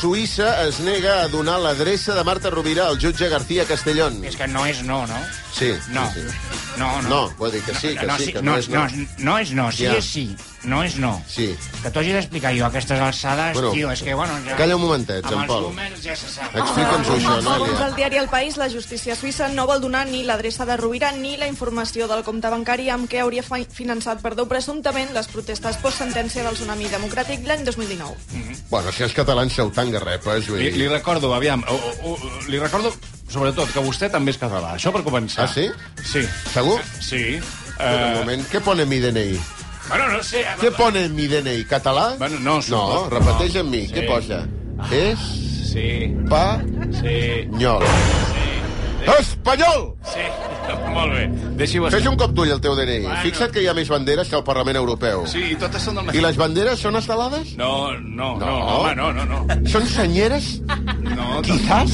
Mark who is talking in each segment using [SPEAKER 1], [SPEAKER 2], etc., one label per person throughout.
[SPEAKER 1] Suïssa es nega a donar l'adreça de Marta Rovira al jutge García Castellón.
[SPEAKER 2] És que no és no, no?
[SPEAKER 1] Sí,
[SPEAKER 2] No.
[SPEAKER 1] sí, sí.
[SPEAKER 2] No, no.
[SPEAKER 1] No, vol dir que sí, que
[SPEAKER 2] no,
[SPEAKER 1] sí,
[SPEAKER 2] sí,
[SPEAKER 1] que
[SPEAKER 2] no,
[SPEAKER 1] no és no.
[SPEAKER 2] No, no és no, sí
[SPEAKER 1] Ja.
[SPEAKER 2] és sí. No és no.
[SPEAKER 1] Sí.
[SPEAKER 2] Que t'ho hagi d'explicar jo a aquestes alçades,
[SPEAKER 1] Bueno,
[SPEAKER 2] tio, és que, bueno... Ja,
[SPEAKER 1] Calla un momentet,
[SPEAKER 2] amb
[SPEAKER 1] Jean
[SPEAKER 2] els
[SPEAKER 1] Paul.
[SPEAKER 2] númers ja se sap.
[SPEAKER 3] Ah,
[SPEAKER 1] Explica'ns això,
[SPEAKER 3] Segons
[SPEAKER 1] Noelia.
[SPEAKER 3] el diari El País, la justícia suïssa no vol donar ni l'adreça de Rovira ni la informació del compte bancari amb què hauria fi- finançat, perdó, presumptament les protestes post-sentència del tsunami democràtic l'any 2019.
[SPEAKER 1] Bueno, si els catalans sou tan garrepes, vull
[SPEAKER 4] Li, li
[SPEAKER 1] dir...
[SPEAKER 4] recordo, aviam, o, o, o, li recordo, sobretot, que vostè també és català. Això per començar.
[SPEAKER 1] Ah, sí?
[SPEAKER 4] Sí.
[SPEAKER 1] Segur?
[SPEAKER 4] Sí.
[SPEAKER 1] Un
[SPEAKER 4] Uh,
[SPEAKER 1] moment, què pone en mi DNI?
[SPEAKER 4] bueno, no sé...
[SPEAKER 1] Què pone en mi DNI? Català?
[SPEAKER 4] Bueno, no,
[SPEAKER 1] no,
[SPEAKER 4] suposo-
[SPEAKER 1] repeteix
[SPEAKER 4] no.
[SPEAKER 1] amb mi.
[SPEAKER 4] Sí.
[SPEAKER 1] Què posa? És...
[SPEAKER 4] Sí,
[SPEAKER 1] Espanyol.
[SPEAKER 4] sí,
[SPEAKER 1] Espanyol!
[SPEAKER 4] sí. Molt bé. Deixi-ho estar.
[SPEAKER 1] Fes un cop d'ull al teu DNI.
[SPEAKER 4] Bueno.
[SPEAKER 1] Fixa't que hi ha més banderes que al Parlament Europeu.
[SPEAKER 4] Sí, i totes són del
[SPEAKER 1] I
[SPEAKER 4] mateix.
[SPEAKER 1] les banderes són estelades?
[SPEAKER 4] No, no, no, no,
[SPEAKER 1] No.
[SPEAKER 4] home, no, no, no.
[SPEAKER 1] Són senyeres?
[SPEAKER 4] no
[SPEAKER 1] Quizás?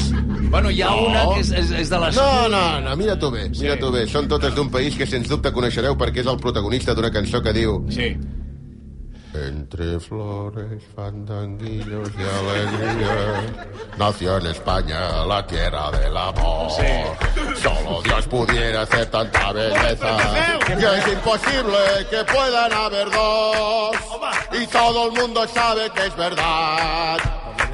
[SPEAKER 5] Bueno, hi ha
[SPEAKER 4] No.
[SPEAKER 5] una que és, és, és de les...
[SPEAKER 1] No, no, no, mira tu bé, mira tu bé. Són totes d'un país que sens dubte coneixereu perquè és el protagonista d'una cançó que diu
[SPEAKER 4] Sí.
[SPEAKER 1] Entre flores, fandanguillos y alegría Nació en España, la tierra del amor
[SPEAKER 4] Sí.
[SPEAKER 1] Solo Dios pudiera hacer tanta belleza Que es imposible que puedan haber dos Y todo el mundo sabe que es verdad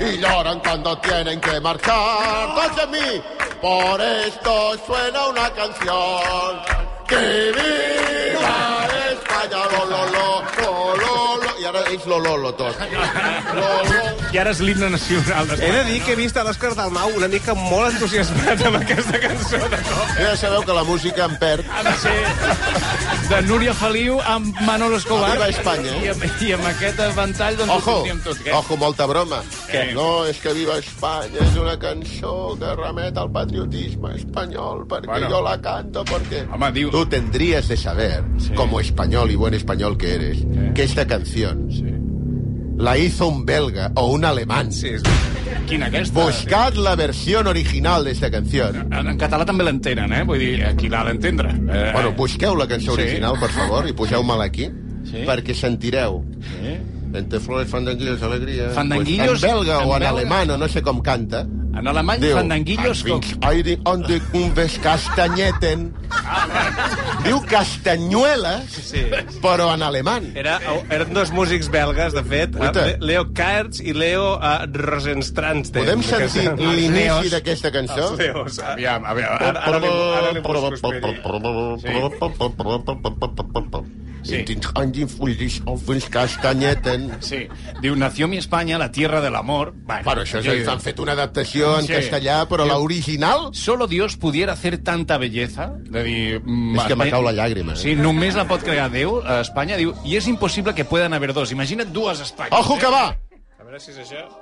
[SPEAKER 1] Y lloran cuando tienen que marchar Entonces mí, por esto suena una canción Que viva España, lo, lo, lo, lo, lo, lo. I ara ells lo, lo, lo tot. Lo, lo.
[SPEAKER 4] I ara és l'himne nacional
[SPEAKER 6] He
[SPEAKER 4] d'Espanya.
[SPEAKER 6] de dir que he vist a l'Òscar Dalmau una mica molt entusiasmat amb aquesta cançó de cop.
[SPEAKER 1] Ja sabeu que la música em perd.
[SPEAKER 4] de Eh, ser de Núria Feliu amb Manolo Escobar.
[SPEAKER 1] Arriba a Espanya, eh?
[SPEAKER 4] I, amb, I amb aquest ventall, doncs,
[SPEAKER 1] Ojo,
[SPEAKER 4] ho tindríem tot, eh?
[SPEAKER 1] ojo, molta broma.
[SPEAKER 4] Què?
[SPEAKER 1] No, és que Viva Espanya és una cançó que remet al patriotisme espanyol, perquè bueno.
[SPEAKER 4] Bueno.
[SPEAKER 1] yo la canto, porque...
[SPEAKER 4] Home, diu-
[SPEAKER 1] Tú tendrías de saber, como español y buen español que eres, que esta canción la hizo un belga o un alemán.
[SPEAKER 6] Sí, és...
[SPEAKER 4] Quina, aquesta?
[SPEAKER 1] Buscad la versión original de esta canción.
[SPEAKER 4] En, en català també l'entenen, eh? Vull dir, aquí l'ha d'entendre. Eh,
[SPEAKER 1] Bueno, busqueu la cançó
[SPEAKER 4] Sí.
[SPEAKER 1] original, per favor, i poseu-me-la aquí,
[SPEAKER 4] Sí.
[SPEAKER 1] perquè sentireu
[SPEAKER 4] eh?
[SPEAKER 1] Entre flores, fandanguillos, alegría.
[SPEAKER 4] Fandanguillos,
[SPEAKER 1] Pues en belga
[SPEAKER 4] en
[SPEAKER 1] o en
[SPEAKER 4] belga.
[SPEAKER 1] alemán, o no sé com canta.
[SPEAKER 4] En alemany, Déu. fandanguillos... Com...
[SPEAKER 1] "Als Eide und die Kumbes castanyeten. Diu castanyueles, sí. però en alemany.
[SPEAKER 6] Era, eren dos músics belgues, de fet,
[SPEAKER 1] Uita.
[SPEAKER 6] eh, Leo Kaerts i Leo uh, Rosenstransten.
[SPEAKER 1] Podem sentir l'inici
[SPEAKER 6] Leos.
[SPEAKER 1] d'aquesta cançó?
[SPEAKER 6] Els Leos. eh?
[SPEAKER 4] Aviam, aviam.
[SPEAKER 6] Ara- ara li- ara li busco, esperi.
[SPEAKER 4] Sí.
[SPEAKER 1] In den Angen fullis auf uns castanyeten.
[SPEAKER 4] Sí. Diu, nació mi España, la tierra del amor. Bueno,
[SPEAKER 1] Bueno, això és, han fet una adaptació en
[SPEAKER 4] Sí.
[SPEAKER 1] castellà, però l'original...
[SPEAKER 4] Solo Dios pudiera hacer tanta belleza. De dir, mm,
[SPEAKER 1] És que me
[SPEAKER 4] eh,
[SPEAKER 1] cau la llàgrima, eh?
[SPEAKER 4] Sí, només la pot crear Déu a Espanya. Diu, i és impossible que puedan haver dos. Imagina't dues eh? Espanyes.
[SPEAKER 1] Ojo que va!
[SPEAKER 6] A veure si és això.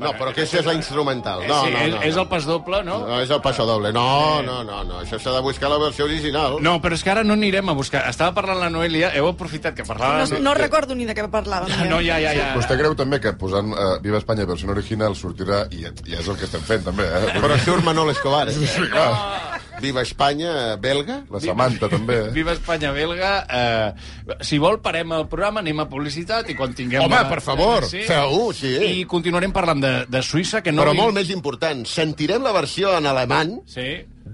[SPEAKER 1] No, però aquesta és la instrumental.
[SPEAKER 4] Eh,
[SPEAKER 1] No,
[SPEAKER 4] sí,
[SPEAKER 1] no,
[SPEAKER 4] és,
[SPEAKER 1] no.
[SPEAKER 4] és el pas doble, no?
[SPEAKER 1] No, és el passo doble. No, no, no, no. Això s'ha de buscar la versió original.
[SPEAKER 4] Eh. No, però és que ara no anirem a buscar. Estava parlant la Noelia, heu aprofitat que parlava...
[SPEAKER 3] No, no recordo ni de què parlàvem. eh?
[SPEAKER 4] Ah, No, ja, ja, ja.
[SPEAKER 7] Vostè creu també que posant uh, Viva Espanya versió original sortirà, i, i és el que estem fent també, eh?
[SPEAKER 1] Però surt Manol Escobar. Eh? Viva Espanya, belga.
[SPEAKER 7] La Samantha també, eh?
[SPEAKER 4] Viva Espanya belga. Eh, si vol, parem el programa, anem a publicitat i quan tinguem...
[SPEAKER 1] Home,
[SPEAKER 4] la-
[SPEAKER 1] per favor, feu-ho, sí.
[SPEAKER 4] I continuarem parlant de, de Suïssa, que no...
[SPEAKER 1] Però
[SPEAKER 4] vinc-
[SPEAKER 1] molt més important, sentirem la versió en alemany
[SPEAKER 4] Sí.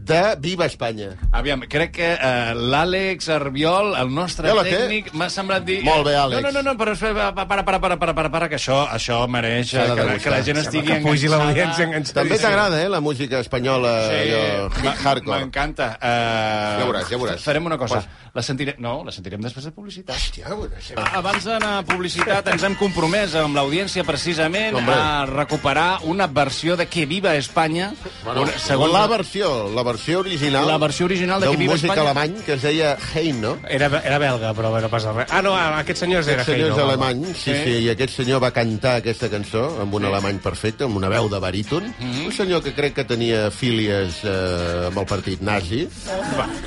[SPEAKER 1] de Viva Espanya.
[SPEAKER 4] Aviam, crec que eh, l'Àlex Arbiol, el nostre
[SPEAKER 1] Ja la té.
[SPEAKER 4] tècnic, m'ha semblat dir...
[SPEAKER 1] Molt bé, Àlex.
[SPEAKER 4] No, no, no, no però espera, pa- para, para, para, para, para, para, que això, això mereix eh,
[SPEAKER 1] S'ha de
[SPEAKER 4] que, la-
[SPEAKER 1] degustar.
[SPEAKER 4] que la gent estigui
[SPEAKER 6] Que pugi l'audiència
[SPEAKER 1] També
[SPEAKER 6] enganxadíssima.
[SPEAKER 1] t'agrada, eh, la música espanyola
[SPEAKER 4] Sí,
[SPEAKER 1] allò,
[SPEAKER 4] m'a-
[SPEAKER 1] hit hardcore.
[SPEAKER 4] M'encanta. Uh,
[SPEAKER 1] Ja veuràs, ja veuràs.
[SPEAKER 4] Farem una cosa.
[SPEAKER 1] Posa.
[SPEAKER 4] La sentirem... No, la sentirem després de publicitat.
[SPEAKER 1] Hòstia, bueno, això-
[SPEAKER 4] Abans d'anar a publicitat, ens hem compromès amb l'audiència precisament
[SPEAKER 1] Hombre.
[SPEAKER 4] a recuperar una versió de Que viva Espanya.
[SPEAKER 1] Bueno,
[SPEAKER 4] una-
[SPEAKER 1] segons la versió, la versió original...
[SPEAKER 4] La versió original de
[SPEAKER 1] d'un
[SPEAKER 4] que Viva
[SPEAKER 1] músic
[SPEAKER 4] Espanya.
[SPEAKER 1] alemany que es deia Hein, no?
[SPEAKER 6] Era, era belga, però bé, no passa res. Ah, no, aquest senyor és era
[SPEAKER 1] Aquest senyor és
[SPEAKER 6] Heino.
[SPEAKER 1] alemany, sí, sí, i aquest senyor va cantar aquesta cançó amb un alemany perfecte, amb una veu de baríton. Un senyor que crec que tenia fílies eh, amb el partit nazi.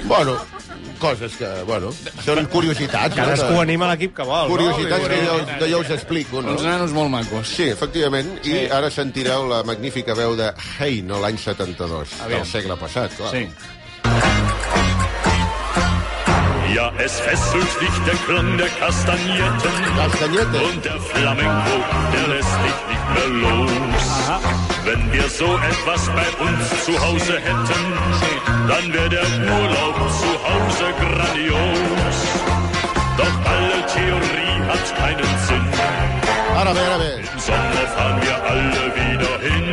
[SPEAKER 1] Bueno, coses que, bueno, són curiositats. no?
[SPEAKER 6] Cadascú
[SPEAKER 1] De-
[SPEAKER 6] anima l'equip que vol.
[SPEAKER 1] Curiositats que jo,
[SPEAKER 4] Curiositats.
[SPEAKER 1] que jo us explico, no?
[SPEAKER 4] Uns nanos molt macos.
[SPEAKER 1] Sí, efectivament, i ara sentireu la magnífica veu de Hey, no l'any 72,
[SPEAKER 4] Aviam.
[SPEAKER 1] del segle passat, clar.
[SPEAKER 4] Sí.
[SPEAKER 8] Ja, es fesselt dich der Klang der Kastagnetten
[SPEAKER 1] Castanyetes.
[SPEAKER 8] und der Flamenco, der lässt dich nicht mehr los. Wenn wir so etwas bei uns zu Hause hätten, dann wäre der Urlaub zu Hause grandios. Doch alle Theorie hat keinen Sinn.
[SPEAKER 1] Ara bé, ara bé.
[SPEAKER 8] Im Sommer fahren wir alle wieder hin.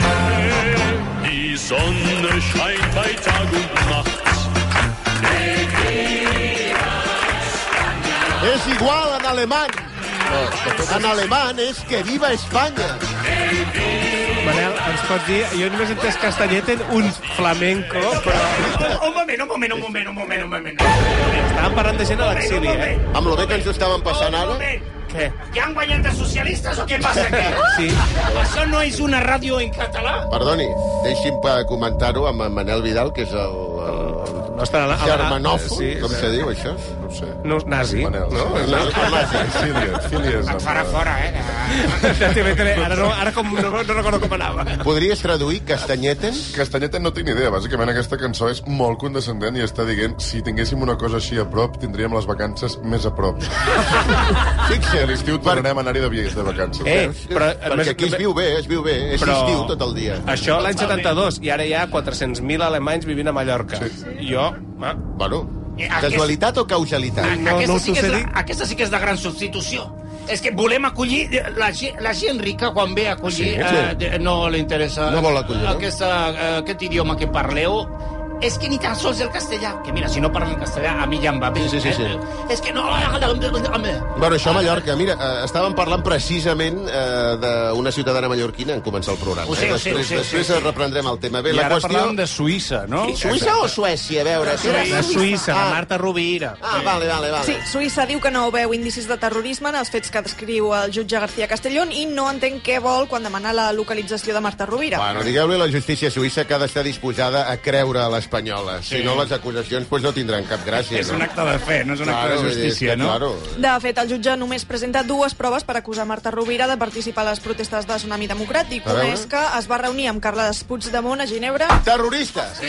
[SPEAKER 8] Die Sonne scheint bei Tag und Nacht.
[SPEAKER 1] És igual en alemany. En alemany és que viva Espanya.
[SPEAKER 6] Manel, ens pots dir... Jo només he entès Castanyeten un flamenco, però
[SPEAKER 2] Un moment, un moment, un moment, un moment, un moment.
[SPEAKER 6] estàvem parlant de gent a l'exili, eh?
[SPEAKER 1] Amb lo bé que ens ho estàvem passant ara...
[SPEAKER 6] Què?
[SPEAKER 2] ¿Que han guanyat els socialistes o què passa aquí?
[SPEAKER 6] Sí.
[SPEAKER 2] Això no és una ràdio en català?
[SPEAKER 1] Perdoni, deixi'm eh, comentar-ho amb en Manel Vidal, que és el, el
[SPEAKER 6] No estan a la... a la-
[SPEAKER 1] germanòfon,
[SPEAKER 6] Sí,
[SPEAKER 1] com se diu això?
[SPEAKER 7] No ho sé.
[SPEAKER 6] No, nazi.
[SPEAKER 7] Manel. No?
[SPEAKER 1] Manel,
[SPEAKER 7] Fílies, fílies.
[SPEAKER 2] Et farà
[SPEAKER 7] amb-
[SPEAKER 2] fora, eh?
[SPEAKER 6] De TV3. Ara, no, ara com, no, no recordo com anava.
[SPEAKER 1] Podries traduir castanyeten?
[SPEAKER 7] Castanyeta no tinc ni idea. Bàsicament aquesta cançó és molt condescendent i està dient si tinguéssim una cosa així a prop, tindríem les vacances més a prop. Fixa, a l'estiu tornarem a anar-hi de, vi- de vacances.
[SPEAKER 6] Eh, però...
[SPEAKER 1] Perquè aquí es viu bé, es viu bé, és
[SPEAKER 6] Però-
[SPEAKER 1] estiu tot el dia.
[SPEAKER 6] Això l'any 72, i ara hi ha 400.000 alemanys vivint a Mallorca. I Jo... Ah,
[SPEAKER 1] Bueno,
[SPEAKER 2] Eh, aquest- Ah,
[SPEAKER 1] casualitat o causalitat?
[SPEAKER 6] No,
[SPEAKER 2] aquesta,
[SPEAKER 6] no
[SPEAKER 2] sí que és
[SPEAKER 6] t'ho
[SPEAKER 2] la,
[SPEAKER 6] sé dir.
[SPEAKER 2] aquesta sí que és de gran substitució. És que volem acollir... eh, La, gent- la gent rica, quan ve a acollir,
[SPEAKER 1] Sí,
[SPEAKER 2] sí,
[SPEAKER 1] sí.
[SPEAKER 2] sí. Eh, de- no li interessa
[SPEAKER 1] No vol acollir, no?
[SPEAKER 2] aquesta, eh, aquest idioma que parleu. És que ni tan sols el castellà, que mira, si no parlen castellà, a mi ja em va bé.
[SPEAKER 1] Sí, sí, sí, sí.
[SPEAKER 2] Eh? És que no... Home,
[SPEAKER 1] Bueno, això a Mallorca. Mira, eh, estàvem parlant precisament eh, d'una ciutadana mallorquina en començar el programa.
[SPEAKER 2] Ho sé,
[SPEAKER 1] eh?
[SPEAKER 2] ho sé,
[SPEAKER 1] després,
[SPEAKER 2] ho sé, ho sé,
[SPEAKER 1] després
[SPEAKER 2] ho sé.
[SPEAKER 1] reprendrem el tema. Bé,
[SPEAKER 4] I
[SPEAKER 1] la
[SPEAKER 4] ara qüestió...
[SPEAKER 1] qüestió...
[SPEAKER 4] parlàvem de Suïssa, no?
[SPEAKER 1] Suïssa o Suècia? A veure, si era
[SPEAKER 6] De Suïssa,
[SPEAKER 1] Ah,
[SPEAKER 6] de Marta Rovira.
[SPEAKER 1] Ah, vale, vale, vale.
[SPEAKER 3] Sí, Suïssa diu que no veu indicis de terrorisme en els fets que descriu el jutge García Castellón i no entén què vol quan demana la localització de Marta Rovira.
[SPEAKER 1] Bueno, digueu-li a la justícia suïssa que ha d'estar disposada a creure a l'espanyola. Si no, les acusacions pues, no tindran cap gràcia.
[SPEAKER 4] És
[SPEAKER 1] no?
[SPEAKER 4] un acte de fe, no és un acte
[SPEAKER 1] Claro,
[SPEAKER 4] de
[SPEAKER 1] vull dir, és
[SPEAKER 4] justícia,
[SPEAKER 1] que,
[SPEAKER 4] no?
[SPEAKER 1] Claro.
[SPEAKER 3] De fet, el jutge només presenta dues proves per acusar Marta Rovira de participar a les protestes de Tsunami Democràtic.
[SPEAKER 1] A
[SPEAKER 3] Una
[SPEAKER 1] veure.
[SPEAKER 3] és que es va reunir amb Carles Puigdemont a Ginebra
[SPEAKER 1] Terroristes!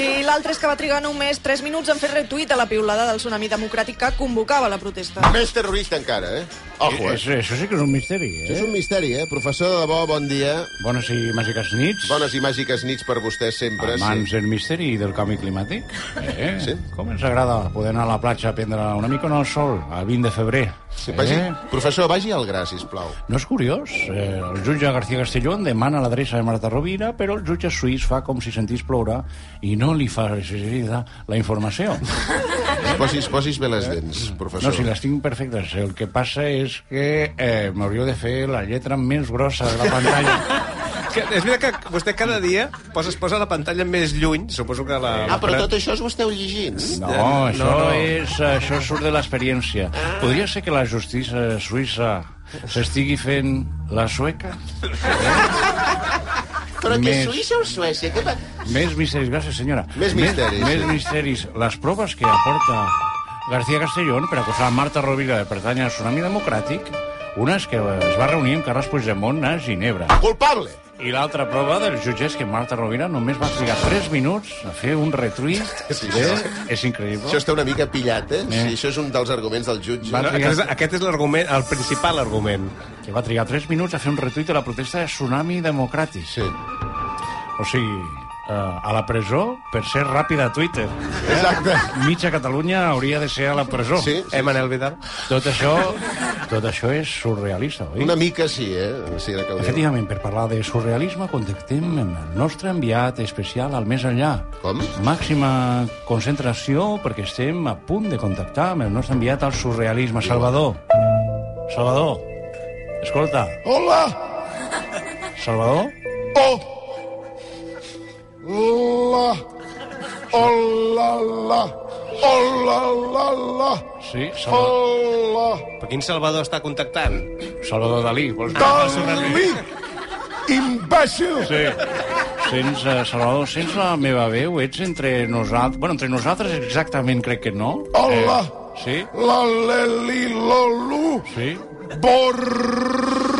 [SPEAKER 3] i l'altra és que va trigar només 3 minuts en fer retuit a la piulada del Tsunami Democràtic que convocava la protesta.
[SPEAKER 1] Més terrorista encara, eh? Ojo, eh?
[SPEAKER 4] Eso, eso sí que és un misteri,
[SPEAKER 1] Això és
[SPEAKER 4] eh?
[SPEAKER 1] un misteri, eh? Professor, de debò, bon dia.
[SPEAKER 4] Bones i màgiques nits.
[SPEAKER 1] Bones i màgiques nits per vostè sempre.
[SPEAKER 4] Amants del misteri i del canvi climàtic. Eh?
[SPEAKER 1] Sí.
[SPEAKER 4] Com ens agrada poder anar a la platja a prendre una mica en el sol, el 20 de febrer. Eh?
[SPEAKER 1] Sí, vagi, professor, vagi al gra, sisplau.
[SPEAKER 4] No és curiós? Eh, el jutge García Castellón demana l'adreça de Marta Rovira, però el jutge suís fa com si sentís ploure i no li facilita la informació.
[SPEAKER 1] Es posis, posis bé les dents, professor.
[SPEAKER 4] No, si les tinc perfectes. El que passa és que eh, m'hauríeu de fer la lletra més grossa de la pantalla.
[SPEAKER 6] Que, és veritat que vostè cada dia posa, es posa la pantalla més lluny, suposo que la...
[SPEAKER 1] Ah, però tot això us ho esteu llegint?
[SPEAKER 4] No,
[SPEAKER 6] No,
[SPEAKER 4] això,
[SPEAKER 6] no.
[SPEAKER 4] no. És, això surt de l'experiència. Podria ser que la justícia suïssa s'estigui fent la sueca?
[SPEAKER 1] Però que
[SPEAKER 4] Més.
[SPEAKER 1] Suïssa o Suècia? Que... pa-
[SPEAKER 4] Més misteris, gràcies, senyora.
[SPEAKER 1] Més misteris,
[SPEAKER 4] Més,
[SPEAKER 1] sí.
[SPEAKER 4] més misteris. Les proves que aporta García Castellón per acusar Marta Rovira de pertànyer al Tsunami Democràtic, una és que es va reunir amb Carles Puigdemont a Ginebra.
[SPEAKER 1] Culpable!
[SPEAKER 4] I l'altra prova del jutge és que Marta Rovira només va trigar 3 minuts a fer un retruit.
[SPEAKER 1] Sí,
[SPEAKER 4] eh?
[SPEAKER 1] sí.
[SPEAKER 4] És increïble.
[SPEAKER 1] Això està una mica pillat, eh? Sí, això és un dels arguments del jutge.
[SPEAKER 4] Va.
[SPEAKER 6] No, aquest, és- aquest és l'argument, el principal argument.
[SPEAKER 4] que va trigar 3 minuts a fer un retuit de la protesta de Tsunami Democràtic.
[SPEAKER 1] Sí.
[SPEAKER 4] O sigui, eh, a la presó per ser ràpida a Twitter.
[SPEAKER 1] Exacte.
[SPEAKER 4] Mitja Catalunya hauria de ser a la presó.
[SPEAKER 1] Sí, sí.
[SPEAKER 6] Eh, Manel Vidal?
[SPEAKER 4] Tot això, tot això és surrealista, oi?
[SPEAKER 1] Una mica sí, eh? Sí, era que ho diu.
[SPEAKER 4] Efectivament, per parlar de surrealisme, contactem amb el nostre enviat especial al més enllà.
[SPEAKER 1] Com?
[SPEAKER 4] Màxima concentració, perquè estem a punt de contactar amb el nostre enviat al surrealisme, Salvador. Salvador, escolta,
[SPEAKER 1] Hola!
[SPEAKER 4] Salvador?
[SPEAKER 1] Oh! La! Hola, la! Hola, la, la!
[SPEAKER 4] Sí, Salvador.
[SPEAKER 1] Hola!
[SPEAKER 6] Per quin Salvador està contactant?
[SPEAKER 4] Salvador Dalí, vols dir?
[SPEAKER 1] Dalí! Imbècil!
[SPEAKER 4] Sí. Sents, eh, Salvador, sents la meva veu? Ets entre nosaltres... Bueno, entre nosaltres exactament crec que no.
[SPEAKER 1] Hola.
[SPEAKER 4] Eh, sí,
[SPEAKER 1] La, leli, lolu!
[SPEAKER 4] sí.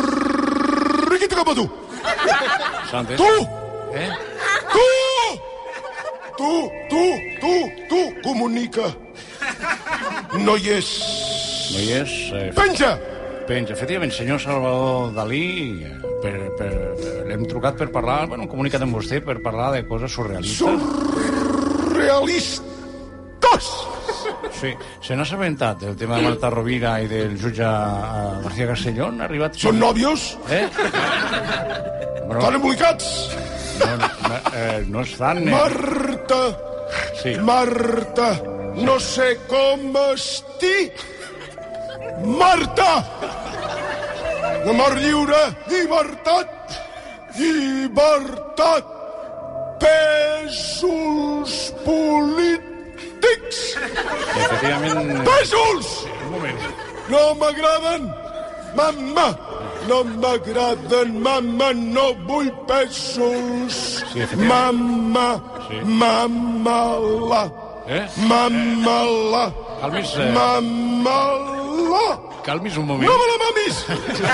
[SPEAKER 1] Borriquito com a tu!
[SPEAKER 4] Santes.
[SPEAKER 1] Tu!
[SPEAKER 4] Eh?
[SPEAKER 1] Tu! Tu, tu, tu, tu, comunica. No hi és.
[SPEAKER 4] No hi és. Eh,
[SPEAKER 1] Penja!
[SPEAKER 4] Penja, efectivament, senyor Salvador Dalí, per, per, l'hem trucat per parlar, bueno, hem comunicat amb vostè per parlar de coses surrealistes.
[SPEAKER 9] Realistes!
[SPEAKER 4] Sí, se n'ha assabentat del tema de Marta Rovira i del jutge eh, García Castellón, ha arribat...
[SPEAKER 9] Són nòvios?
[SPEAKER 4] Eh?
[SPEAKER 9] Estan embolicats?
[SPEAKER 4] No, no, eh, no estan... Eh?
[SPEAKER 9] Marta,
[SPEAKER 4] Sí.
[SPEAKER 9] Marta, no sé com estic. Marta! Amor lliure, llibertat, llibertat, pèsols polítics,
[SPEAKER 4] Efectivament...
[SPEAKER 9] pèsols!
[SPEAKER 4] Un moment.
[SPEAKER 9] No m'agraden! Mamma! No m'agraden, mamma, no vull pèsols.
[SPEAKER 4] Sí, efectivament.
[SPEAKER 9] mamma,
[SPEAKER 4] Sí.
[SPEAKER 9] mamma la,
[SPEAKER 4] Eh?
[SPEAKER 9] mamma la,
[SPEAKER 4] Calmis, eh,
[SPEAKER 9] mamma la.
[SPEAKER 4] calmis un
[SPEAKER 9] No
[SPEAKER 4] moment.
[SPEAKER 9] me la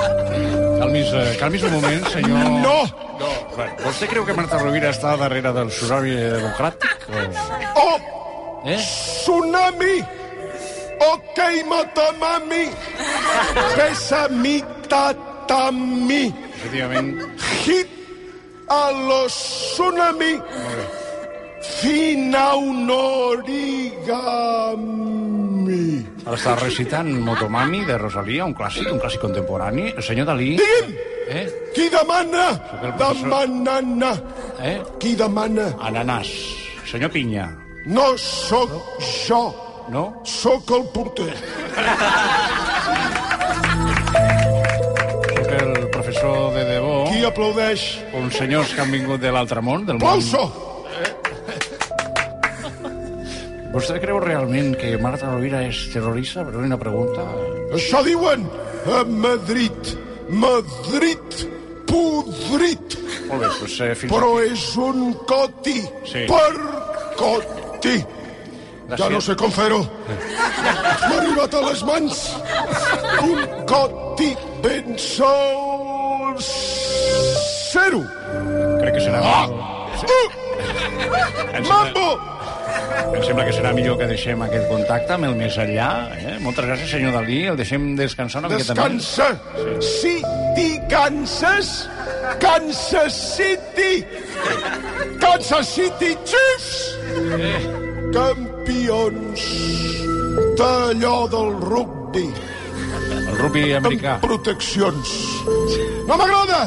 [SPEAKER 9] mamis!
[SPEAKER 4] Calmis, eh, calmis un moment, senyor...
[SPEAKER 9] No!
[SPEAKER 4] No. Bueno, vostè creu que Marta Rovira està darrere del tsunami democràtic? O...
[SPEAKER 9] Oh,
[SPEAKER 4] Eh?
[SPEAKER 9] tsunami! Ok, matamami! Besami, tatami!
[SPEAKER 4] Efectivament...
[SPEAKER 9] hit a los tsunami. Fina un origami.
[SPEAKER 4] Està recitant Motomami de Rosalia, un clàssic, un clàssic contemporani. El senyor Dalí...
[SPEAKER 9] Digui'm,
[SPEAKER 4] Eh?
[SPEAKER 9] qui demana?
[SPEAKER 4] Sóc el professor.
[SPEAKER 9] Demanana.
[SPEAKER 4] Eh?
[SPEAKER 9] Qui demana?
[SPEAKER 4] Ananàs. Senyor Pinya.
[SPEAKER 9] No sóc jo,
[SPEAKER 4] No?
[SPEAKER 9] sóc el porter.
[SPEAKER 4] Soc el professor de debò.
[SPEAKER 9] Qui aplaudeix?
[SPEAKER 4] Uns senyors que han vingut de l'altre món, del món...
[SPEAKER 9] Aplauso!
[SPEAKER 4] Vostè creu realment que Marta Rovira és terrorista? Però una pregunta...
[SPEAKER 9] Això diuen a Madrid. Madrid podrit.
[SPEAKER 4] Molt bé, doncs eh, fins...
[SPEAKER 9] Però és un coti.
[SPEAKER 4] Sí.
[SPEAKER 9] Per coti. Ja no sé com fer-ho. M'ha arribat a les mans un coti ben sol... Zero.
[SPEAKER 4] Crec que serà...
[SPEAKER 9] Uh,
[SPEAKER 4] Em sembla,
[SPEAKER 9] mambo!
[SPEAKER 4] em sembla que serà millor que deixem aquest contacte amb el més enllà. Eh? Moltes gràcies, senyor Dalí. El deixem descansar una miqueta més.
[SPEAKER 9] Descansa. City, Kansas. Kansas City. Kansas City Chiefs. Campions d'allò del rugby.
[SPEAKER 4] El rupi americà.
[SPEAKER 9] Amb proteccions. No m'agrada!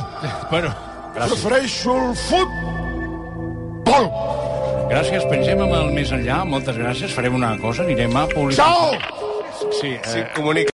[SPEAKER 4] Bueno, gràcies.
[SPEAKER 9] Prefereixo el futbol.
[SPEAKER 4] Gràcies, pensem amb el més enllà. Moltes gràcies. Farem una cosa, anirem a publicitat.
[SPEAKER 9] Ciao!
[SPEAKER 4] Sí, eh,
[SPEAKER 6] Comunica.